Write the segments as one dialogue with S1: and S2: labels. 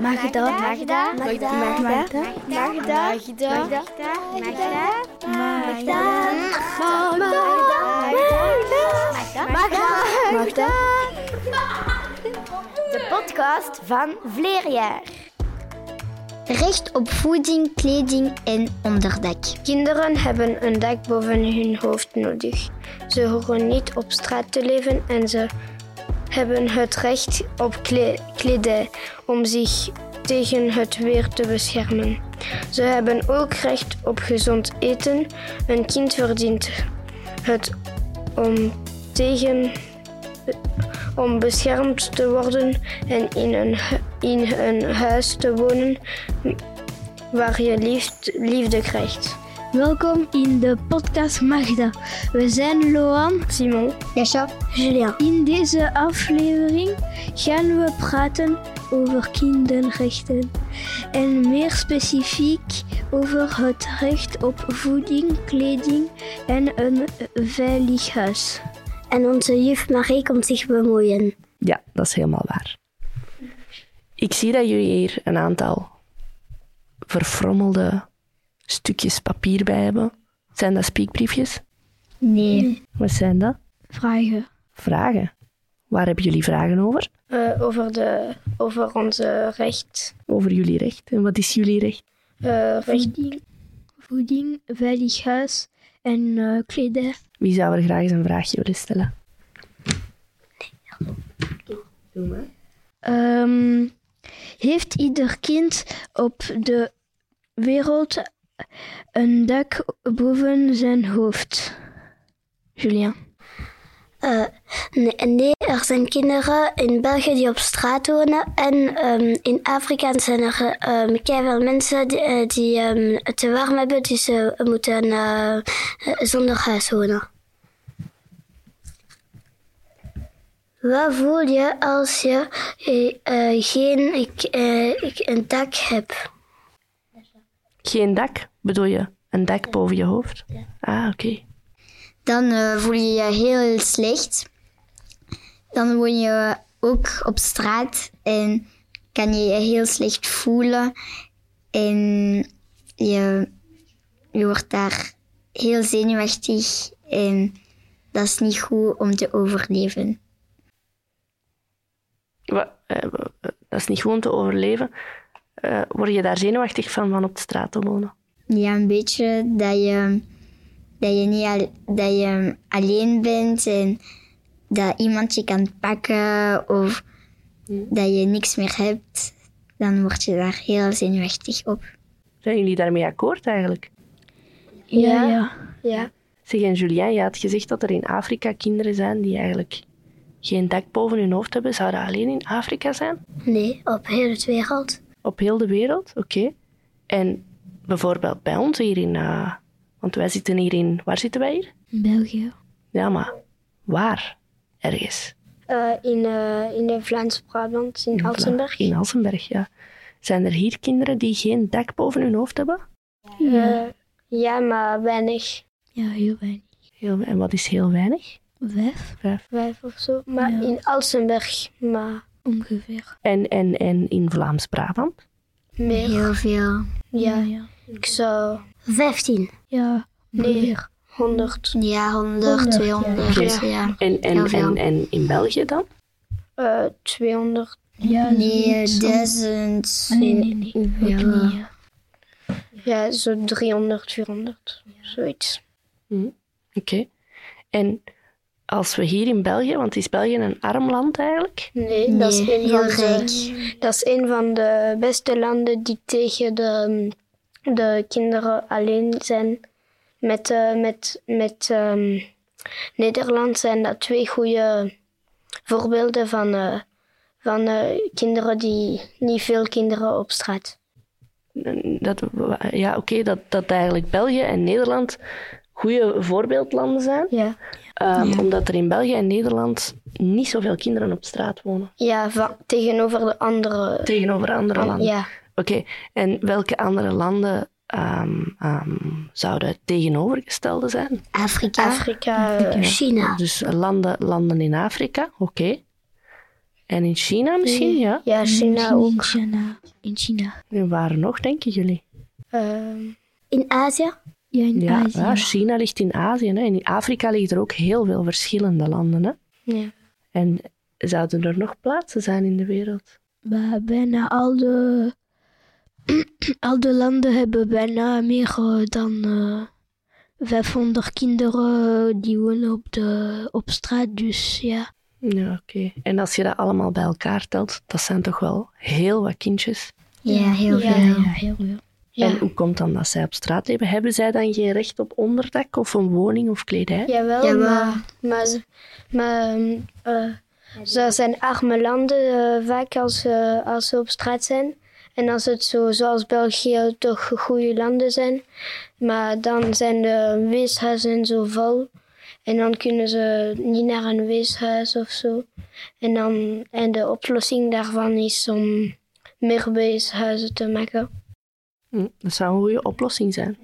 S1: Magda, Magda,
S2: Magda,
S1: Magda,
S2: Magda, Magda,
S1: Magda,
S2: Magda,
S1: Magda,
S2: Magda, Magda,
S1: Magda. De podcast van Vleerjaar.
S3: Recht op voeding, kleding en onderdak.
S4: Kinderen hebben een dak boven hun hoofd nodig. Ze horen niet op straat te leven en ze hebben het recht op kle- kledij om zich tegen het weer te beschermen. Ze hebben ook recht op gezond eten. Een kind verdient het om tegen om beschermd te worden en in een, hu- in een huis te wonen waar je liefd- liefde krijgt.
S5: Welkom in de podcast Magda. We zijn Loan.
S4: Simon,
S3: Jascha,
S5: Julia. In deze aflevering gaan we praten over kinderrechten. En meer specifiek over het recht op voeding, kleding en een veilig huis.
S3: En onze juf Marie komt zich bemoeien.
S6: Ja, dat is helemaal waar. Ik zie dat jullie hier een aantal verfrommelde stukjes papier bij hebben. Zijn dat spiekbriefjes?
S3: Nee.
S6: Wat zijn dat?
S5: Vragen.
S6: Vragen. Waar hebben jullie vragen over?
S4: eh, over, de, over onze recht.
S6: Over jullie recht. En wat is jullie recht?
S4: eh, recht.
S5: Voeding, voeding veilig huis en eh, kledij.
S6: Wie zou er graag eens een vraagje willen stellen? Doe maar.
S5: Ehm, heeft ieder kind op de wereld een dak boven zijn hoofd? Julien.
S3: Nee, Eh, nee, er zijn kinderen in België die op straat wonen. En ehm, in Afrika zijn er um, keihard mensen die, eh, die ehm, het te warm hebben. Dus ze moeten eh, eh, zonder huis wonen. Wat voel je als je eh, eh, geen ik, eh, ik een dak hebt?
S6: Geen dak, bedoel je? Een dak boven je hoofd? Ah, oké.
S3: Dan eh, voel je je heel slecht. Dan woon je ook op straat en kan je je heel slecht voelen. En je, je wordt daar heel zenuwachtig en dat is niet goed om te overleven.
S6: Wa- eh, wa- eh, dat is niet gewoon te overleven. Eh, word je daar zenuwachtig van, van op de straat te wonen?
S3: Ja, een beetje dat je, dat je, niet al- dat je alleen bent en dat iemand je kan pakken of dat je niks meer hebt. Dan word je daar heel zenuwachtig op.
S6: Zijn jullie daarmee akkoord eigenlijk?
S5: Ja, ja.
S6: Zeg, en Julien, je had gezegd dat er in Afrika kinderen zijn die eigenlijk geen dak boven hun hoofd hebben. Zou dat alleen in Afrika zijn?
S3: Nee, op heel het wereld.
S6: Op heel de wereld? Oké. En bijvoorbeeld bij ons hier in... eh, want wij zitten hier in... Waar zitten wij hier?
S5: België.
S6: Ja, maar waar? Ergens.
S4: Eh, in, eh, in de Vlaams-Brabant, in
S6: Vla-
S4: Altenberg.
S6: In Alsenberg, ja. Zijn er hier kinderen die geen dak boven hun hoofd hebben?
S5: Ja,
S4: Eh, ja, maar weinig.
S5: ja heel weinig.
S6: Heel, en wat is heel weinig?
S5: Vijf
S4: Vijf of zo. Maar
S5: Ja.
S4: in Altenberg, maar
S5: ongeveer.
S6: En, en, en in Vlaams-Brabant?
S4: meer.
S3: Heel veel.
S4: Ja,
S5: ja.
S4: ik zou
S3: Vijftien.
S5: Ja,
S4: nee,
S5: ongeveer.
S4: 100.
S3: Ja, 100, 200.
S6: Oké.
S3: Ja.
S6: En, en,
S3: Heel veel.
S6: en, en in België dan?
S4: eh 200.
S5: Ja,
S3: Nee,
S5: zoiets.
S3: duizend.
S5: Nee, nee, nee. Ook
S3: Ja.
S5: niet, ja.
S4: Ja, zo 300, 400. Zoiets. Mhm.
S6: Oké. En als we hier in België, want is België een arm land eigenlijk?
S4: Nee, dat, is
S3: Nee,
S4: een van
S3: heel
S4: de, dat is een van de beste landen die tegen de, mm, de kinderen alleen zijn. Met, eh, met, met ehm, Nederland zijn dat twee goede voorbeelden van, eh, van eh, kinderen die niet veel kinderen op straat.
S6: Dat, we- ja, oké, dat, dat eigenlijk België en Nederland goede voorbeeldlanden zijn.
S4: Ja,
S6: ehm, Omdat er in België en Nederland niet zoveel kinderen op straat wonen.
S4: ja van- tegenover de andere.
S6: Tegenover andere
S4: an-
S6: landen.
S4: ja,
S6: Oké, en welke andere landen ehm, ehm, zouden het tegenovergestelde zijn?
S3: Afrika.
S4: Ah, Afrika. eh,
S3: China.
S6: Dus landen, landen in Afrika, oké. En in China misschien, ja?
S4: Ja, China ook.
S5: In China. In China.
S6: En waar nog, denken jullie?
S4: Ehm,
S2: In Azië?
S5: Ja, in
S6: Ja,
S5: Azië.
S6: ja, China ligt in Azië. Hè. En in Afrika liggen er ook heel veel verschillende landen. Hè.
S4: ja.
S6: En zouden er nog plaatsen zijn in de wereld?
S5: Maar bijna al de, al de landen hebben bijna meer eh, dan eh, 500 kinderen eh, die wonen op, de, op straat. Dus ja,
S6: Ja, oké. En als je dat allemaal bij elkaar telt, dat zijn toch wel heel wat kindjes.
S3: Ja, heel
S5: ja,
S3: veel.
S5: ja, heel veel.
S4: Ja.
S6: En hoe komt dan dat zij op straat leven? Hebben zij dan geen recht op onderdak of een woning of kledij?
S4: Jawel,
S3: Jawel.
S4: Oh, maar, maar, ze- maar ehm, eh, ze zijn arme landen eh, vaak als, ze- als ze op straat zijn. En als het zo, zoals België toch goede landen zijn. Maar dan zijn de weeshuizen zo vol. En dan kunnen ze niet naar een weeshuis of zo. En, dan, en de oplossing daarvan is om meer weeshuizen te maken.
S6: Hm, dat zou een goede oplossing zijn.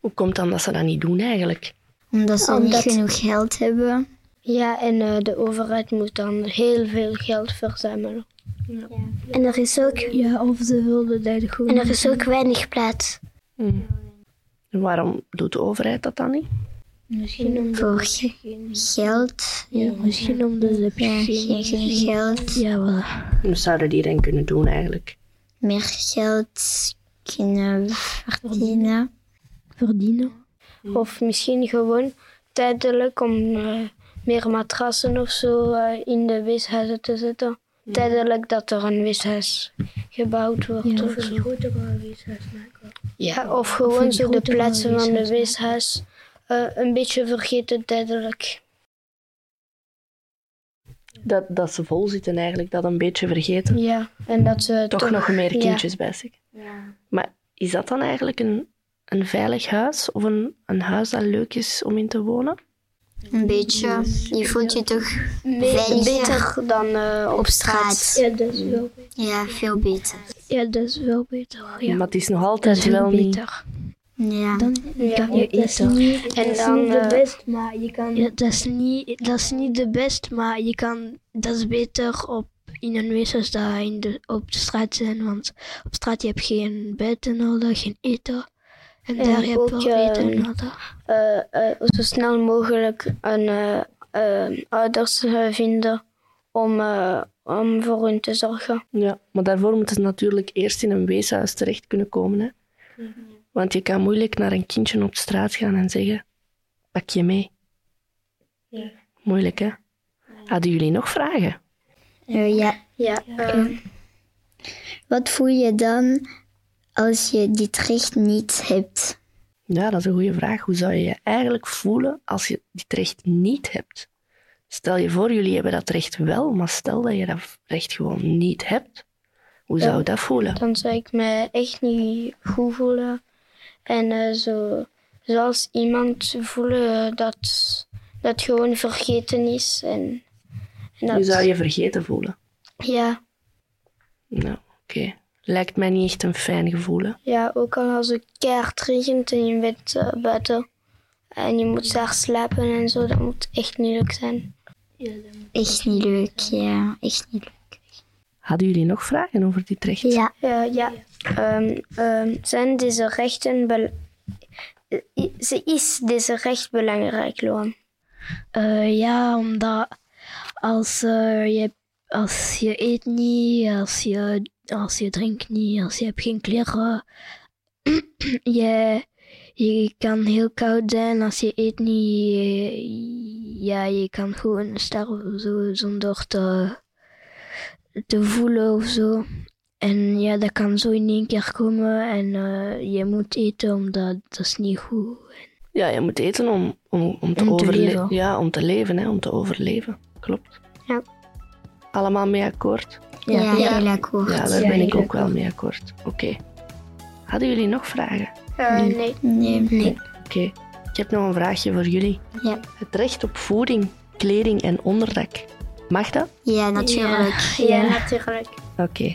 S6: Hoe komt dan dat ze dat niet doen eigenlijk?
S3: Omdat ze
S4: Omdat-
S3: niet genoeg geld hebben.
S4: Ja, en eh, de overheid moet dan heel veel geld verzamelen.
S2: En er is ook,
S5: Ja, of ze wilden dat gewoon.
S2: en er is ook weinig plaats.
S6: Hm. En waarom doet de overheid dat dan niet?
S5: misschien om
S3: Voor ge- geld.
S5: ja, misschien omdat ze
S3: Ja, geen, geen geld.
S5: Ja, voilà.
S6: Wat zouden die dan kunnen doen eigenlijk?
S3: Meer geld kunnen verdienen.
S5: verdienen.
S4: Of misschien gewoon tijdelijk om eh, meer matrassen of zo eh, in de weeshuizen te zetten. Tijdelijk dat er een weeshuis gebouwd wordt
S5: Ja.
S4: of zo. Ja, of gewoon
S5: een
S4: zo de
S5: grotere
S4: plaatsen van de
S5: weeshuis
S4: weeshuis eh, een beetje vergeten tijdelijk.
S6: Dat, dat ze vol zitten eigenlijk, dat een beetje vergeten.
S4: Ja, en dat ze
S6: Toch, nog meer
S4: ja.
S6: kindjes bij zich. Maar is dat dan eigenlijk een, een veilig huis? Of een, een huis dat leuk is om in te wonen?
S3: Een beetje. Je voelt je toch
S4: Be-
S3: Veiliger.
S4: beter dan eh, op
S3: op straat.
S4: Ja, dat is wel.
S3: Ja, veel beter.
S5: Ja, dat is wel beter. Ja,
S6: Maar het is nog
S5: dat
S6: altijd
S5: is wel
S6: wel niet...
S5: beter.
S3: Ja.
S5: Dan
S4: Ja.
S5: kan je eten.
S4: En dan, eh,
S5: Ja, dat is niet, dat is niet de best, maar je kan, dat is beter op, in een weeshuis dan in de, op de straat zijn. Want op straat heb je geen bed en al dat, geen eten. En,
S4: En
S5: daar heb je
S4: ook,
S5: wel eten en
S4: eh,
S5: al dat.
S4: eh, eh, zo snel mogelijk een eh, eh, ouders eh, vinden om, eh, om voor hun te zorgen.
S6: Ja, maar daarvoor moeten ze natuurlijk eerst in een weeshuis terecht kunnen komen. Hè? Want je kan moeilijk naar een kindje op straat gaan en zeggen... Pak je mee. Moeilijk, hè? Hadden jullie nog vragen?
S3: Eh, ja,
S4: Ja, eh,
S3: Wat voel je dan als je dit recht niet hebt?
S6: Ja, dat is een goede vraag. Hoe zou je je eigenlijk voelen als je dit recht niet hebt? Stel je voor, jullie hebben dat recht wel, maar stel dat je dat recht gewoon niet hebt. Hoe zou je dat voelen?
S4: dan zou ik me echt niet goed voelen. En eh, zo, zoals iemand voelen eh, dat, dat gewoon vergeten is. En, en dat,
S6: Je zou je vergeten voelen.
S4: ja,
S6: Nou, oké. Lijkt mij niet echt een fijn gevoel. hè?
S4: ja, ook al als het keihard regent en je bent eh, buiten. En je moet daar slapen en zo, dat moet echt niet leuk zijn.
S3: Echt niet leuk, ja. Echt niet leuk.
S6: Hadden jullie nog vragen over dit recht?
S3: Ja,
S4: Eh, ja. Ehm, ehm, zijn deze rechten. bel- eh, i- Ze is deze recht belangrijk, Loan.
S5: Eh, ja, omdat als, eh, je, als je eet niet, als je, als je drinkt niet, als je hebt geen kleren, je, je kan heel koud zijn als je eet niet. je- ja, je kan gewoon sterven of zo, zonder te, te voelen of zo. En ja, dat kan zo in één keer komen en eh, je moet eten omdat dat is niet goed.
S6: Ja, je moet eten om, om, om te
S5: Om te
S6: overleven.
S5: leven.
S6: Ja, om te leven, hè, om te overleven. Klopt.
S4: Ja.
S6: Allemaal mee akkoord?
S3: ja,
S4: ja.
S3: heel akkoord.
S6: Oh, Ja, daar ben ik ook wel mee akkoord. Oké. Hadden jullie nog vragen?
S4: Eh, nee.
S3: Nee, nee.
S6: Oké, ik heb nog een vraagje voor jullie.
S3: Ja.
S6: Het recht op voeding, kleding en onderdak. Mag dat?
S3: Ja, natuurlijk.
S4: Ja, natuurlijk.
S6: Oké.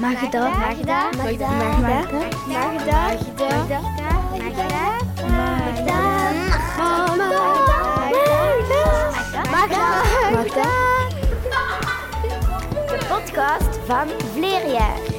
S2: Magda, Magda, Magda, Magda, Magda, Magda, Magda, Magda, Mama, Magda, Magda, Magda,
S1: podcast van Vleerjaar.